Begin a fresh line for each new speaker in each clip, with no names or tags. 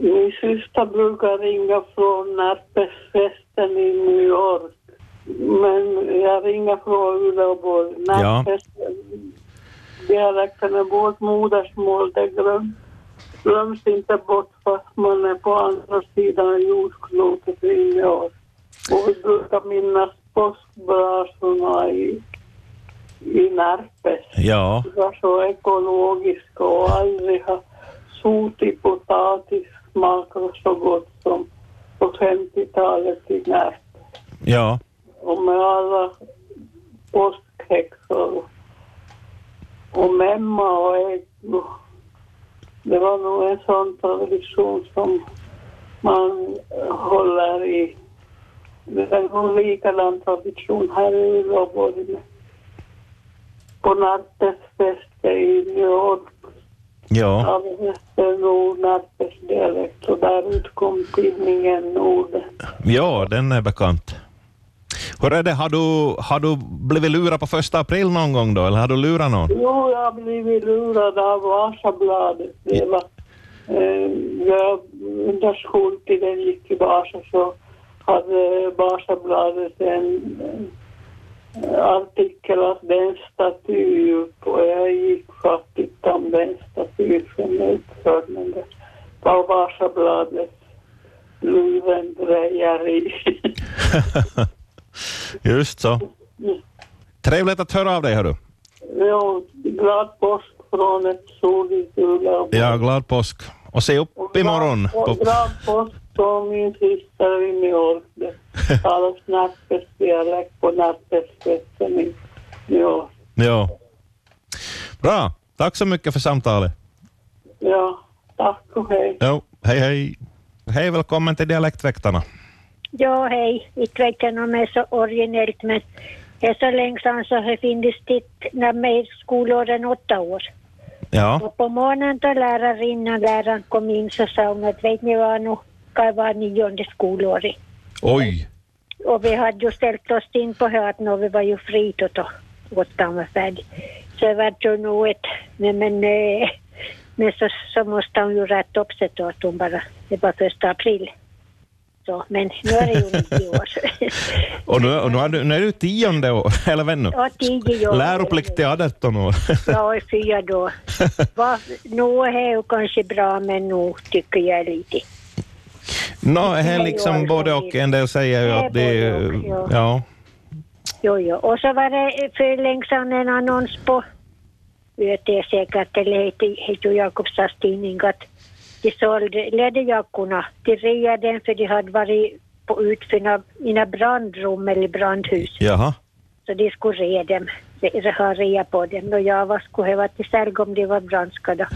Min syster brukar ringa från nattfesten i New York. Men jag ringer från Uleåborg.
Ja.
Nattfesten- Dialekten är vårt modersmål. Det glöms, glöms inte bort fast man är på andra sidan jordklotet i år. Och vi brukar minnas påskbrasorna i, i Närpes.
Ja,
Vi var så ekologiska och aldrig har sotig potatis smakat så gott som på 50-talet i Närpes
ja.
och med alla påskhäxor och memma och ägg. och- Det var nog en sån tradition som man håller i. Det är en likadan tradition här i Uleåborg. med- På Nartes fest i New York
Ja,
av Västernord, Nartes dialekt och där utkom tidningen Norden.
ja den är bekant. Hur är det, har du, har du blivit lurad på första april någon gång då, eller har du lurat någon?
Jo, jag har blivit lurad av Vasabladet. Det var, eh, jag, under skoltiden gick i Vasa så hade Vasabladet en eh, artikel att den staty upp och jag gick för att titta om den staty som är uppförd men det var Vasabladet. Luven drejar i.
Just så. Trevligt att höra av dig, hördu.
Jo, glad påsk från ett soligt Uleåbo.
Ja, glad påsk. Och se upp imorgon.
Och
På...
dra post från min syster i New York. Det talas nattfestdialekt på nattfestfesten i New York.
Ja. Bra. Tack så mycket för samtalet.
Ja, tack och hej.
Jo, hej hej. Hej, välkommen till Dialektväktarna.
Ja, hej. Inte vet jag om det är så originellt, men det är så länge sedan så har funnits dit när mig skolåren åtta år.
Ja,
Och på morgonen då lärarinnan, läraren kom in så sa hon att vet ni vad, nu ska jag vara nionde skolåret.
oj.
Och vi hade ju ställt oss in på här att nå, vi var ju fri då, då åttan var färdig. Så det var ju nog ett, nej men, eh, men så, så måste hon ju rätta upp sig då att hon bara, det var första april. Så, men nu är det ju nio år.
Och nu, och nu, är, du, nu är du tionde år, eller vännu?
Ja, tio år.
Läroplikt är 18 år.
Ja, i fyra då. Va, nu är ju kanske bra, men nu tycker jag lite.
Nå, det är liksom både och. En del säger ju att det är... Ja,
Jo, jo. Och så var det för länge sedan en annons på ÖT säkert, eller heter- heter ju Jakobstads tidning, att de sålde läderjackorna. De reade den för de hade varit på ut för några- i några brandrum eller brandhus.
jaha.
Så de skulle rea dem, re- ha rea på dem. Och jag vad skulle det vara till sälg om de var brandskadda.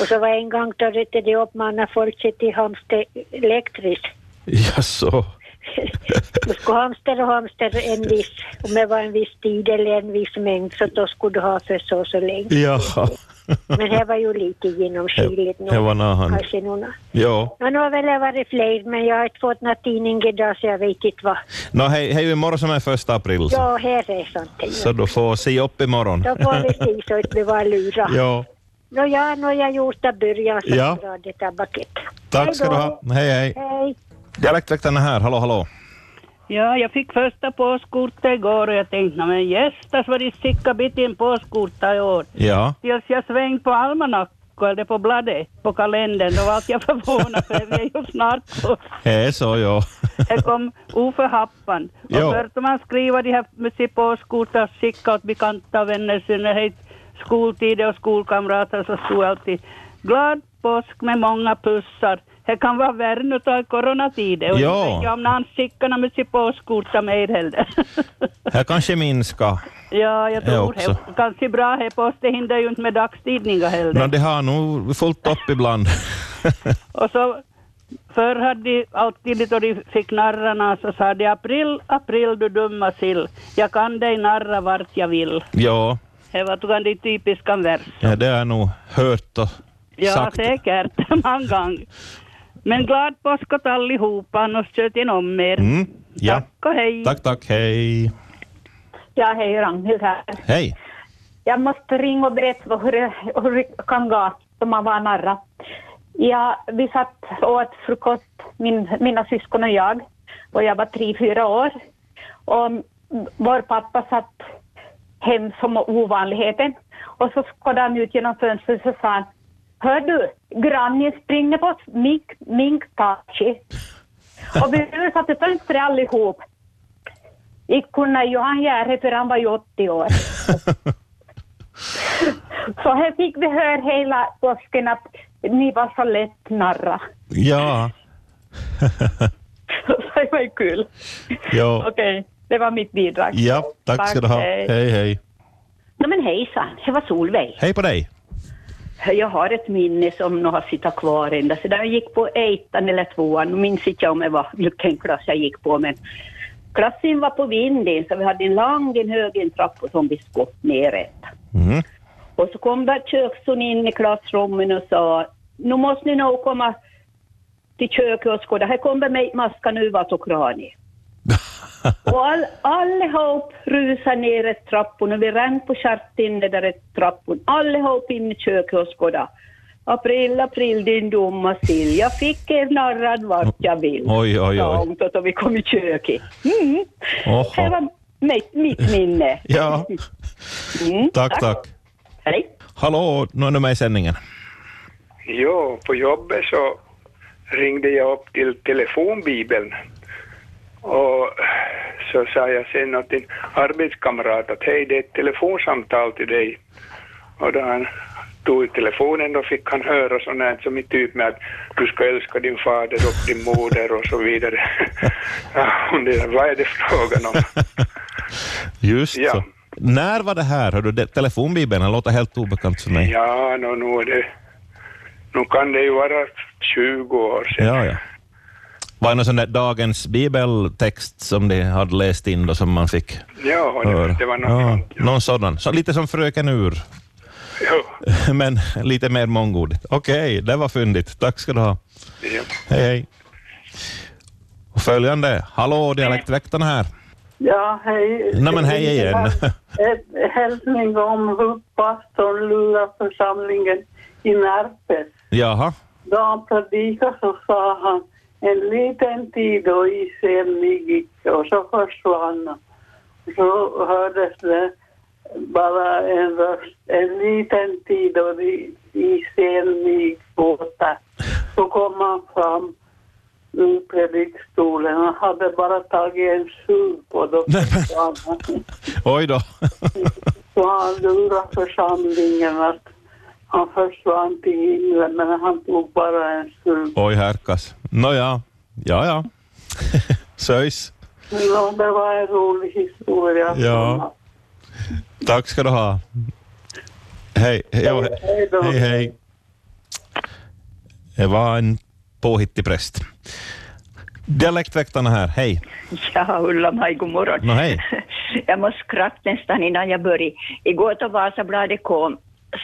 Och så var en gång då ryckte de upp manna folk sig till Hamster elektriskt.
Jaså?
Du skulle hamster och hamster en viss, om det var en viss tid eller en viss mängd så då skulle du ha för så och så länge.
Jaha.
Men det var ju lite genomskinligt.
Det var nahan.
Kanske någon.
Ja.
Ja, nu har väl det varit fler, men jag har inte fått någon tidning idag så jag vet inte vad.
Nå, hej, hej imorgon som är första april. Så,
Ja, här är sånt. ja.
så du får se upp imorgon.
Då får vi se så att vi var lura.
Ja.
Nåja, nu har jag gjort av början så
Ja.
bra det tabaket.
Tack ska du ha. Hej hej.
Hej!
Dialektväktarna här, hallå hallå.
Ja, jag fick första påskkortet igår och jag tänkte, "Nå, men gästas vad de skickar bit in påskkorta i år.
Ja.
Tills jag svängde på almanackan, eller på bladet, på kalendern, då var jag förvånad för det är ju snart på.
Det är så ja.
Det kom oförhappan. Och
Jo.
började man skriva de här sitt påskkort och skicka åt bekanta och vänner, i synnerhet skoltider och skolkamrater, så stod alltid glad påsk med många pussar. Det kan vara värre nu då i coronatider. Och
Jo.
inte vet jag om någon skickar med sitt påskkort till mig heller.
Här kanske minska.
ja, jag
Jag
tror
också.
det. Kanske bra, det posten hinner ju inte med dagstidningar heller.
Nå, det har nog fullt upp ibland.
Och så förr hade de alltid då de fick narrarna så sa de april, april du dumma sill. Jag kan dig narra vart jag vill.
ja.
Det var tog han de typiska vers.
ja, det har jag nog hört och
Ja,
sagt.
säkert. Många gång. Men glad påsk åt allihopa, annars sköt in om er.
Mm. Ja.
Tack och hej.
Tack, tack, hej.
Ja, hej Ragnhild här.
Hej.
Jag måste ringa och berätta vad- hur det, hur det kan gå som man var narra. Ja, vi satt och åt frukost, min, mina syskon och jag, och jag var tre, fyra år. Och vår pappa satt hem som ovanligheten och så skådade han ut genom fönstret och så sa han Hör du, grannen springer på mink, minktaxi. Och vi satt i fönstret allihop. Inte kunde Johan Järhe för han var ju 80 år. så här fick vi höra hela påsken att ni var så lätt narra.
Ja.
Så det var ju kul.
Jo.
Okej, det var mitt bidrag.
Ja, tack ska du ha. Hej, hej.
No, men hejsan, det var Solveig.
Hej på dig.
Jag har ett minne som nog har suttit kvar ända sedan jag gick på ettan eller tvåan. Nu minns inte jag om det var vilken klass jag gick på, men klassen var på vinden så vi hade en lång, en hög, en trappa som vi skulle neråt.
Mm.
Och så kom där köksson in i klassrummen och sa, nu måste ni nog komma till köket och skåda, här kommer mig maska nu vart och krani. och all, allihop rusade ner ett trappan och vi rann på stjärt in det där ett trappan. Allihop in i köket och skåda. April, april din dumma sill, jag fick er narrad vart jag vill.
Oj, oj,
Sa
oj.
hon då vi kom i köket. Mm. Det
Oho.
var mitt, mitt minne.
Ja,
Mm.
tack, tack.
Hej.
Hallå, nu är du med i sändningen.
Jo, på jobbet så ringde jag upp till telefonbibeln och så sa jag sen åt din arbetskamrat att hej, det är ett telefonsamtal till dig. Och då han tog i telefonen då fick han höra sånt här som i typ med att du ska älska din fader och din moder och så vidare. Ja, hon undrade, vad är det frågan om?
Just
Ja.
så. När var det här? Hör du, det- telefonbibeln den låter helt obekant för mig.
Ja, nå, nu, är det, nu kan det ju vara 20 år sedan.
Ja, ja. Var det någon sån där dagens bibeltext som de hade läst in då som man fick
Ja,
höra?
det, det var något
ja,
sånt.
någon sådan. Så lite som Fröken Ur,
Jo,
men lite mer mångordigt. Okej, det var fyndigt. Tack ska du ha.
ja.
Hej, hej. Och följande. Hallå, dialektväktarna här.
Ja, hej.
Nej, men hej igen.
En hälsning om hur pastorn lurar församlingen i Närpes.
Jaha.
Då han predikade så sa han en liten tid och isen ni gick och så försvann han. Så hördes det bara en röst. En liten tid och i- isen ni gick åter. Så kom han fram ur predikstolen. Han hade bara tagit en sup och då försvann han.
Oj då.
Så han lurade församlingen att han försvann till himlen men han tog bara en sup.
Oj, härkas. Nåja. Ja, ja. Söjs.
No, det var en rolig historia.
Ja. Tack ska du ha. Hej. Ja,
Hej då.
hej, hej. Det var en påhittig präst. Dialektväktarna här, hej.
Ja, Ulla-Maj, god morgon.
Nå, hej.
Jag måste skratta nästan innan jag börjar. Igår då Vasabladet kom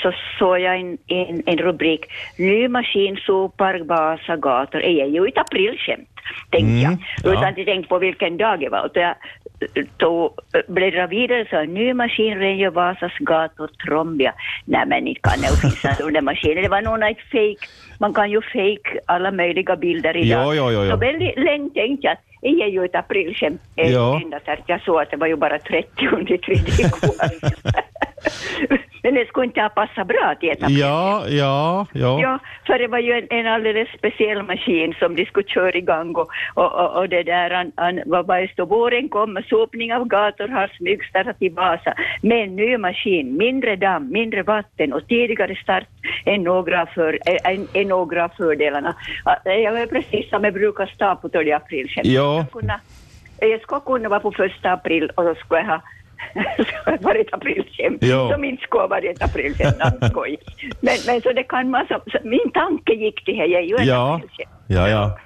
så såg jag en, en, en rubrik, Ny maskin sopar Vasa gator. Det är ju ett aprilskämt, tänkte
Mm,
jag.
ja.
Utan att tänka på vilken dag det var. Och då jag eh, tog, eh, bläddrade vidare så ny maskin rengör Vasas gator Trombia. Nej men inte kan det ju finnas sådana maskiner. Det var nog ett fake. Man kan ju fake alla möjliga bilder idag.
Jo, jo, jo, jo.
Så väldigt länge tänkte jag att det är ju ett aprilskämt Eh,
Ja.
Ända så att jag såg att det var ju bara 30 under tredje kvarten. Men det skulle inte ha passat bra till ett
Ja, ja, ja.
Ja, för det var ju en, en alldeles speciell maskin som de skulle köra igång och, och, och, och det där, han, han, vad var det stod, våren kommer, sopning av gator har smygstartat i Vasa med en ny maskin, mindre damm, mindre vatten och tidigare start än några, för, ä- än, än några av fördelarna. Ja, Det var precis som jag brukar stå på 12 april. känner jag.
Ja.
Jag kunna- Jag skulle kunna vara på första april och så skulle jag ha varit aprilskämt
Ja.
som inte skulle ha varit ett aprilskämt, namn, skoj. Men, men så det kan man som, så, min tanke gick till det, jag är ju en
Ja,
aprilskämt.
ja, ja.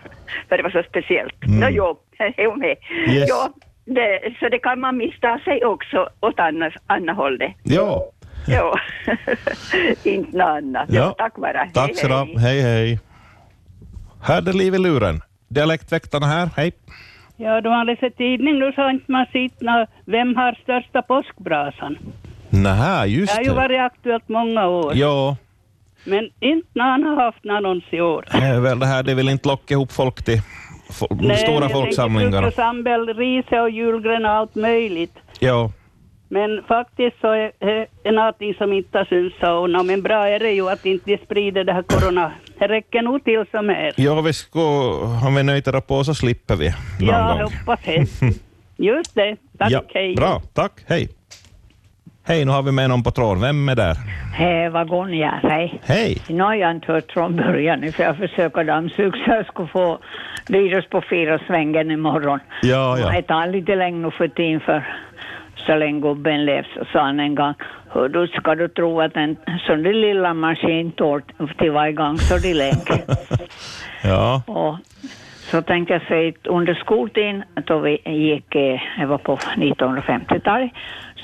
För det var så speciellt.
Mm.
Nå jo, jo med.
Yes.
Ja, det, så det kan man missta sig också åt annat, annat håll det.
Ja,
Jo, inte något annat.
Ja.
Jo, tack bara.
tack ska du ha. Hej, hej. Här är liv i luren. Dialektväktarna här, hej.
Ja, då man läser tidning nu så har inte man sett nå- vem har största påskbrasan.
Nähä, just
Det har ju
det.
varit aktuellt många år.
Ja,
Men inte när han har haft någon annons i år.
Det är väl det här, det vill inte locka ihop folk till fo- stora folksamlingar.
Sambel, rise och julgren och allt möjligt.
Ja.
Men faktiskt så är är det någonting som inte har synts och nå, men bra är det ju att inte de sprider det här corona. Det räcker nog till som är.
ja, vi ska, om vi nöjter på så slipper vi någon
Jag
gång.
hoppas det. Just det. Tack,
ja,
hej.
Bra, tack, hej. Hej, nu har vi med någon på tråden. Vem är där?
Hej, vad Gunja, hej.
Hej.
Nu har jag inte hört från början nu, för jag försöker dammsuga så jag ska få virus på fyra svängen imorgon.
Ja, ja.
Det tar lite längre nu för tiden för så länge gubben levs, sa han en gång. Hör du, ska du tro att en sån där lilla maskin tål till varje gång så de leker.
Ja.
Och så tänkte jag säga att under skoltiden, då vi gick, eh, det var på 1950-talet,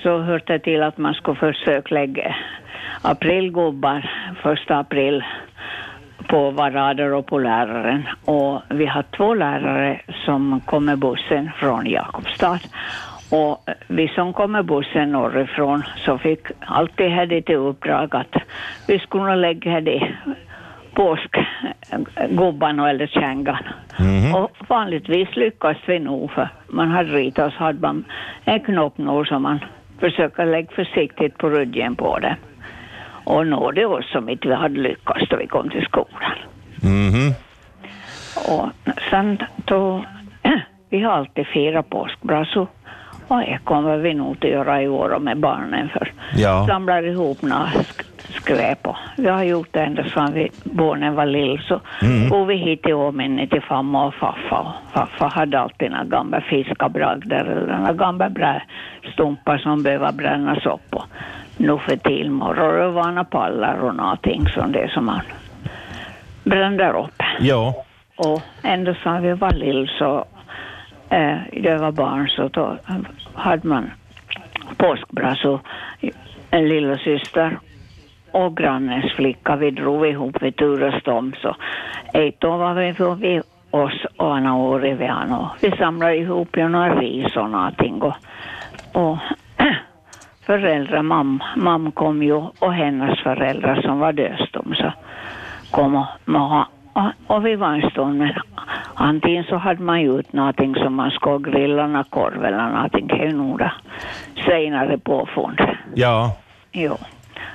så hörde jag till att man skulle försöka lägga aprilgubbar första april på varader och på läraren. Och vi har två lärare som kom med bussen från Jakobstad. Och eh, vi som kom med bussen norrifrån så fick alltid här det till uppdrag att vi skulle lägga det påskgubbarna eller kängan.
Mhm.
Och vanligtvis lyckas vi nog för man hade ritat och så hade man en knoppnål som man försöker lägga försiktigt på ryggen på det. Och nådde oss som inte vi hade lyckats då vi kom till skolan.
Mhm.
Och sen då, vi har alltid firat påskbrasor. Och det kommer vi nog att göra i år med barnen för
Ja.
samlar ihop några sk- skräp och vi har gjort det ända sedan vi, barnen var lill så
Mm.
for vi hit i åminne till farmor och farfar. Och Farfar hade alltid några gamla fiskabragder eller några gamla brä- stumpar som behöver brännas upp och nu för tiden morgonrövana pallar och någonting som det som man bränner upp.
Ja.
Och ändå sa vi var lill så eh, jag var barn så då hade man påskbrasor, en lilla syster och grannens flicka. Vi drog ihop, vi turades om så ett år var vi för vi oss och andra året vi han och vi samlade ihop ju några ris och någonting och, och föräldrar, mamma mam kom ju och hennes föräldrar som var dödsdom så kom och, och, och, och vi var en stund men antingen så hade man gjort någonting som man ska grilla någon korv eller någonting, det är ju några senare påfund.
Ja.
Jo.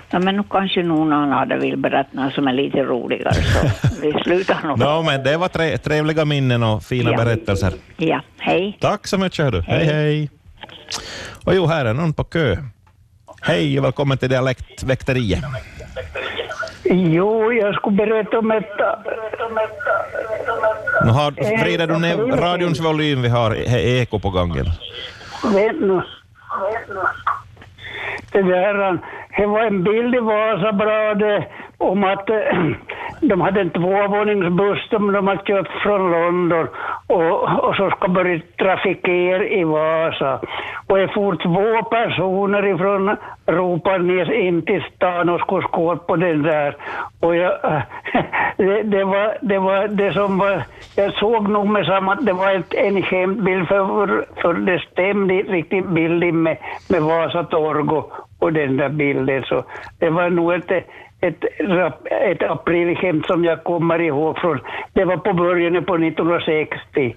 Ja, men nu kanske någon annan hade vill berätta något som är lite roligare så vi slutar nog.
No, men det var tre, trevliga minnen och fina
Ja.
berättelser.
Ja, hej.
Tack så mycket. Hördu. Hej, hej. Och jo, här är någon på kö. Hej och välkommen till Dialektväkteriet.
Jo, jag skulle berätta om ett...
Nu har, vrider du ner radions volym, vi har e- eko på gången.
Vet nu. Det där, eh, det var en bild i Vasabladet om att eh, de hade en tvåvåningsbuss som de hade köpt från London och, och så ska börja trafikera i Vasa. Och det for två personer ifrån Ropanäs in till stan och skulle skål på den där. Och jag, det, det, var, det var det som var, jag såg nog med samma att det var ett, en skämtbild för, för det stämde inte riktigt bilden med, med Vasa torg och, och den där bilden. Så det var nog ett, ett, rap- ett aprilskämt som jag kommer ihåg från, det var på början på 1960.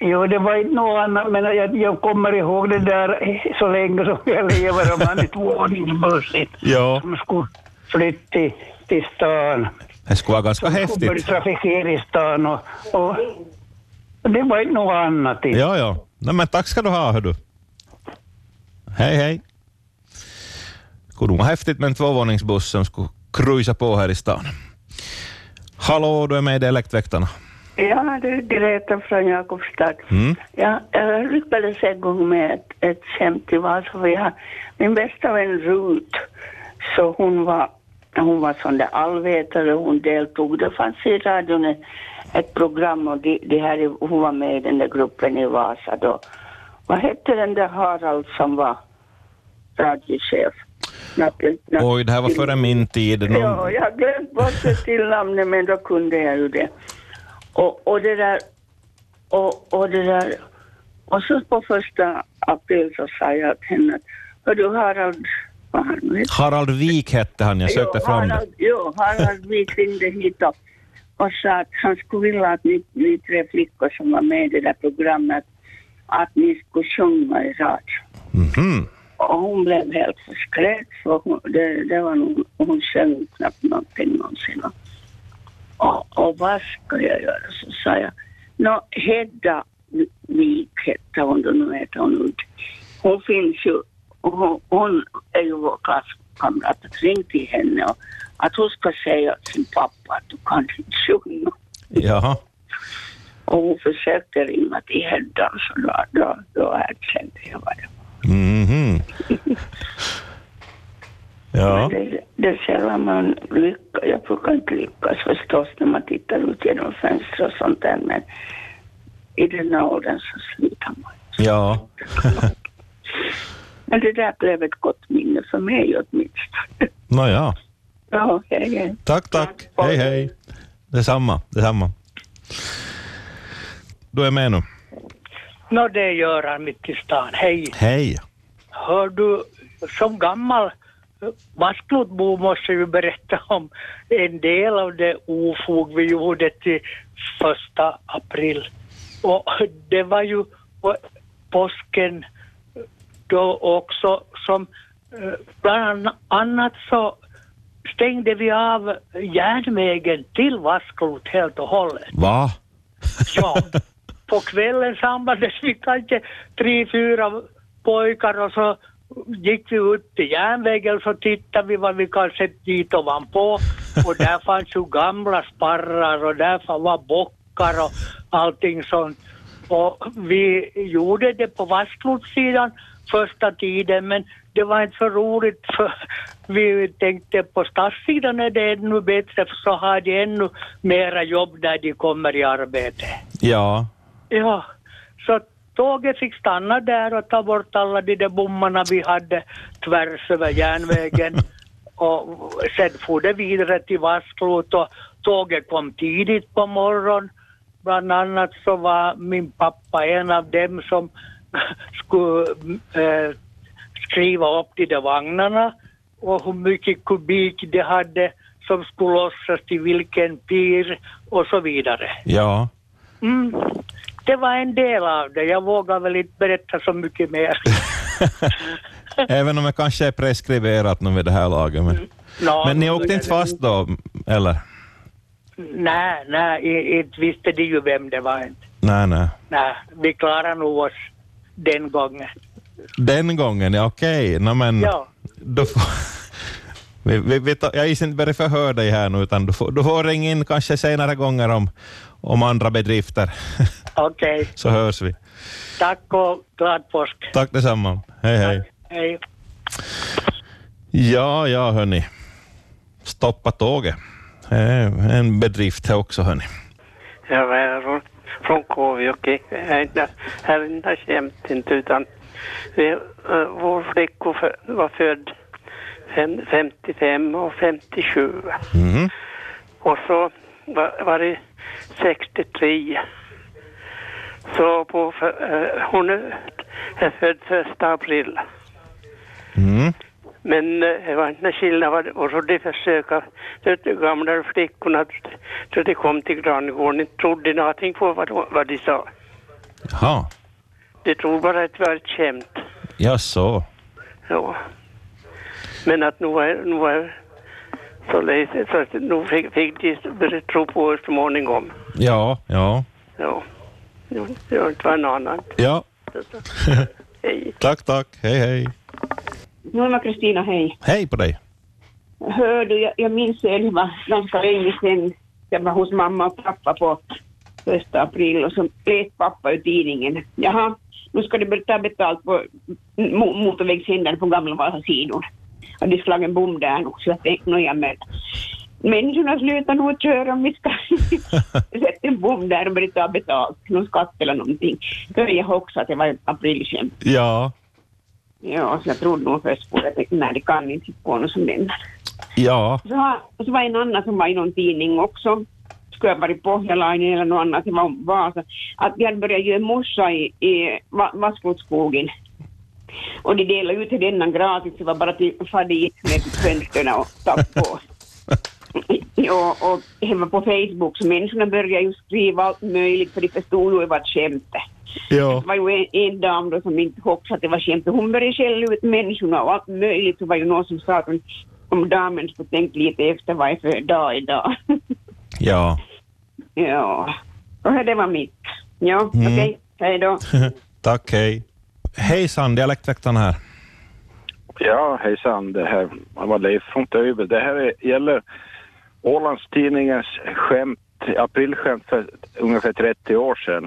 Jo, det var inte något annat, men jag, jag kommer ihåg det där så länge som jag lever, om man är tvåvåningsbussen
Ja.
som skulle flytta till, till stan.
Det skulle vara ganska
Började
häftigt.
trafikera i stan och, och det var inte något annat.
Ja, ja. Nej, men tack ska du ha, hördu. Hej, hej. Skulle nog vara häftigt med en tvåvåningsbuss som skulle cruisa på här i stan. Hallå, du är med i Dialektväktarna.
Ja, det är Greta från Jakobstad.
Mm.
Ja, jag lyckades en gång med ett, ett skämt i Vasa. för jag- Min bästa vän Rut, så hon var, hon var sån där allvetare, hon deltog. Det fanns i radion ett- ett program och de, de här, i- hon var med i den där gruppen i Vasa då. Vad hette den där Harald som var radiochef? Natten- natten-
Oj, det här var före min tid. Någon...
Ja, jag har glömt bort det till namnet, men då kunde jag ju det. Och, och det där... Och, och det där... Och så på första april så sa jag till henne att Hör du Harald, barn. vet du.
Harald Wik hette han, jag sökte
Jo,
fram det.
Harald, jo, Harald Wik ringde hit och, och sa att han skulle vilja att ni, ni tre flickor som var med i det där programmet, att ni skulle sjunga i radio.
Mhm.
Och hon blev helt förskräckt för hon, det, det var nog, hon sjöng knappt någonting någonsin. Och, och vad ska jag göra? Så sa jag, nå Hedda Wik hette hon då, nu heter hon inte. Hon finns ju, hon, hon är ju vår klasskamrat. Ring till henne och att hon ska säga åt sin pappa att du kan inte sjunga.
Jaha.
Och hon försökte ringa till Hedda så då, då, då erkände jag vad det
Mhm. Ja.
Det, det är sällan man lyckas. Jag brukar inte lyckas förstås när man tittar ut genom fönster och sånt där, men i den här åldern så slutar man.
Ja.
Men det där blev ett gott minne för mig åtminstone.
Nåja.
Ja, hej, hej.
Tack, tack. Hej, hej. Detsamma, detsamma. Du är med nu.
Nå, det är Göran mitt i stan. Hej.
Hej.
Hör du, som gammal Vasklotbo måste ju berätta om en del av det ofog vi gjorde till första april. Och det var ju på påsken då också som eh, bland annat så stängde vi av järnvägen till Vasklot helt och hållet.
Va?
Ja, på kvällen samlades vi kanske tre, fyra pojkar och så gick vi ut till järnvägen så tittade vi vad vi kunde sätta dit ovanpå och där fanns ju gamla sparrar och där fan var bockar och allting sånt. Och vi gjorde det på vasklotssidan första tiden men det var inte så roligt för vi tänkte på stadssidan är det ännu bättre för så har de ännu mera jobb när de kommer i arbete.
Ja.
Ja, så tåget fick stanna där och ta bort alla de där bommarna vi hade tvärs över järnvägen. och sen for det vidare till Vasklot och tåget kom tidigt på morgonen. Bland annat så var min pappa en av dem som skulle eh, skriva upp de där vagnarna och hur mycket kubik de hade som skulle lossas till vilken pir och så vidare.
Ja.
Mm. Det var en del av det. Jag vågar väl inte berätta så mycket mer.
Även om jag kanske är preskriberat nu vid det här laget. Men,
Nå,
men ni åkte inte fast då, eller?
Nej, nej, i- inte visste de ju vem det var. inte.
Nej, nej.
Nej, vi klarade nog oss den gången.
Den gången, ja okej. nå men...
Ja.
Då får... vi, vi, vi tar, jag gissar inte börja förhöra dig här nu, utan du får, du får ringa in kanske senare gånger om, om andra bedrifter,
Okej,
så hörs vi.
tack och glad påsk.
Tack detsamma. Hej, hej.
Hej.
Ja, ja, hörni. Stoppa tåget. Det är en bedrift här också, hörni.
Jag var från, från Kåvijoki. Det här är inte skämt inte utan vi, eh, vår flicka fö- var född fem, 55 och 57.
Mm.
Och så var, var det 63. Så på, för- eh, hon är är född första april.
Mm.
Men eh, det var inte någon skillnad. vad det- Och så de försöka, de gamla flickorna, så de kom till granngården, de trodde någonting på vad, de- vad de sa.
Jaha,
De trodde bara att det var ett skämt.
ja så.
Ja. Men att nu var, nu var så lite, så att nu fick, fick de börja tro på oss så småningom.
Ja, ja,
Ja. Jo, Det var inte något annat.
ja.
Hej.
Tack, tack. Hej, hej.
Norma Kristina, hej.
Hej på dig.
Hör du, jag, jag minns själv var ganska länge sedan jag var hos mamma och pappa på första april och så läste pappa ur tidningen. Jaha, nu ska du ta betalt på mo- motorvägshindren på gamla Vasasidon. Har de slagit en bom där nu? Så jag tänkte, nåja men människorna slutar nog att köra om vi ska sätta en bom där och börja ta betalt. Någon skatt eller någonting. Då är jag också att det var ett aprilskämt.
Ja,
Ja, så jag trodde nog först på det. Jag tänkte, nej, det kan inte gå något som den.
ja,
Så, har- och så var en annan som var i någon tidning också. Skulle jag varit Pohjalainen eller något annat, det var om Vasa. Att de hade börjat göra morsa i, i Va- Vassfotskogen. Och de delade ut denna gratis, det var bara till far dit med svenskarna och tappa på. Ja, och hemma på Facebook så människorna började ju skriva allt möjligt för de förstod ju att det var ett skämt.
Ja.
Det var ju en, en dam då som inte hoppade att det var skämt och hon började skälla ut människorna och allt möjligt. Det var ju någon som sa att hon- om damen skulle tänka lite efter vad det är för dag idag.
Ja.
ja, och det var mitt. Ja,
Mm.
okej. Hej då.
Tack, hej. Hejsan, Dialektväktarna här.
Ja, hejsan. Det här var Leif från Töjbe. Det här är, gäller Ålandstidningens skämt, aprilskämt för ungefär 30 år sedan.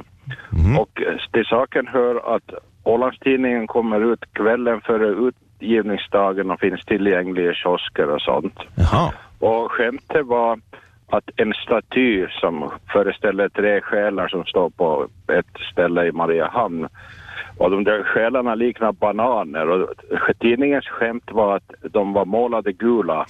Och eh, till saken hör att Ålandstidningen kommer ut kvällen före utgivningsdagen och finns tillgänglig i kiosker och sånt. Och skämtet var att en staty som föreställer tre själar som står på ett ställe i Mariehamn och de där själarna liknar bananer och tidningens skämt var att de var målade gula.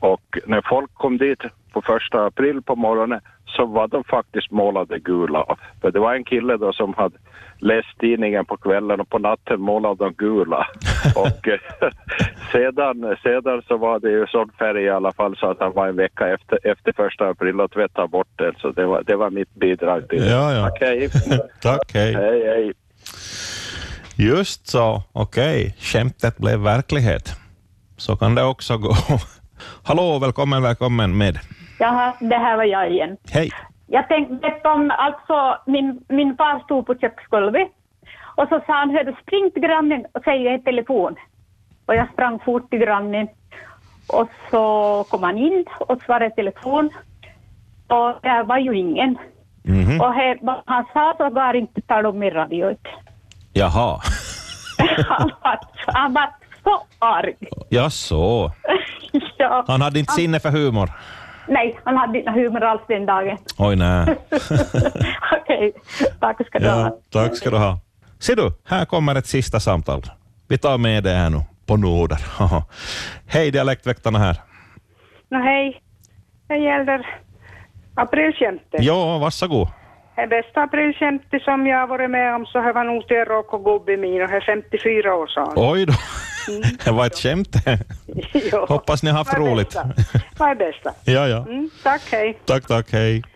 Och när folk kom dit på första april på morgonen så var de faktiskt målade gula. För det var en kille då som hade läst tidningen på kvällen och på natten målade de gula. Och eh, sedan, sedan så var det ju sån färg i alla fall så att han var en vecka efter, efter första april och tvättade bort den. Så det var, det var mitt bidrag till det.
Ja, ja.
Okej.
Tack, hej.
Hej, hej.
Just så, okej. Skämtet blev verklighet. Så kan det också gå. Hallå, välkommen, välkommen med.
Jaha, det här var jag igen.
Hej.
Jag tänkte berätta om, alltså min, min far stod på köksgolvet och så sa han, hör du spring till grannen och säg i telefon. Och jag sprang fort till grannen och så kom han in och svarade i telefon och där var ju ingen. Och här, vad han sa så var inte tal om i radion.
Jaha.
Han var, han var så arg.
Ja, så.
Ja.
Han hade inte sinne för humor.
Nej, han hade inte humor alls den dagen.
Oj, nej.
Okej, tack ska du ha.
Ja, tack ska du ha. Ser du, här kommer ett sista samtal. Vi tar med det här nu, på nåder. Haha. Hej, Dialektväktarna här.
No hej. Det gäller aprilskämtet.
Ja, varsågod.
Det bästa aprilskämtet som jag har varit med om så här var nog till Rocco gubbe min och här 54 år sa han.
Oj då. Det var ett skämt.
Ja.
Hoppas ni har haft
Vad är
roligt.
bästa? Vad är bästa?
Ja, ja.
Mm, tack, hej.
Tack, tack, hej.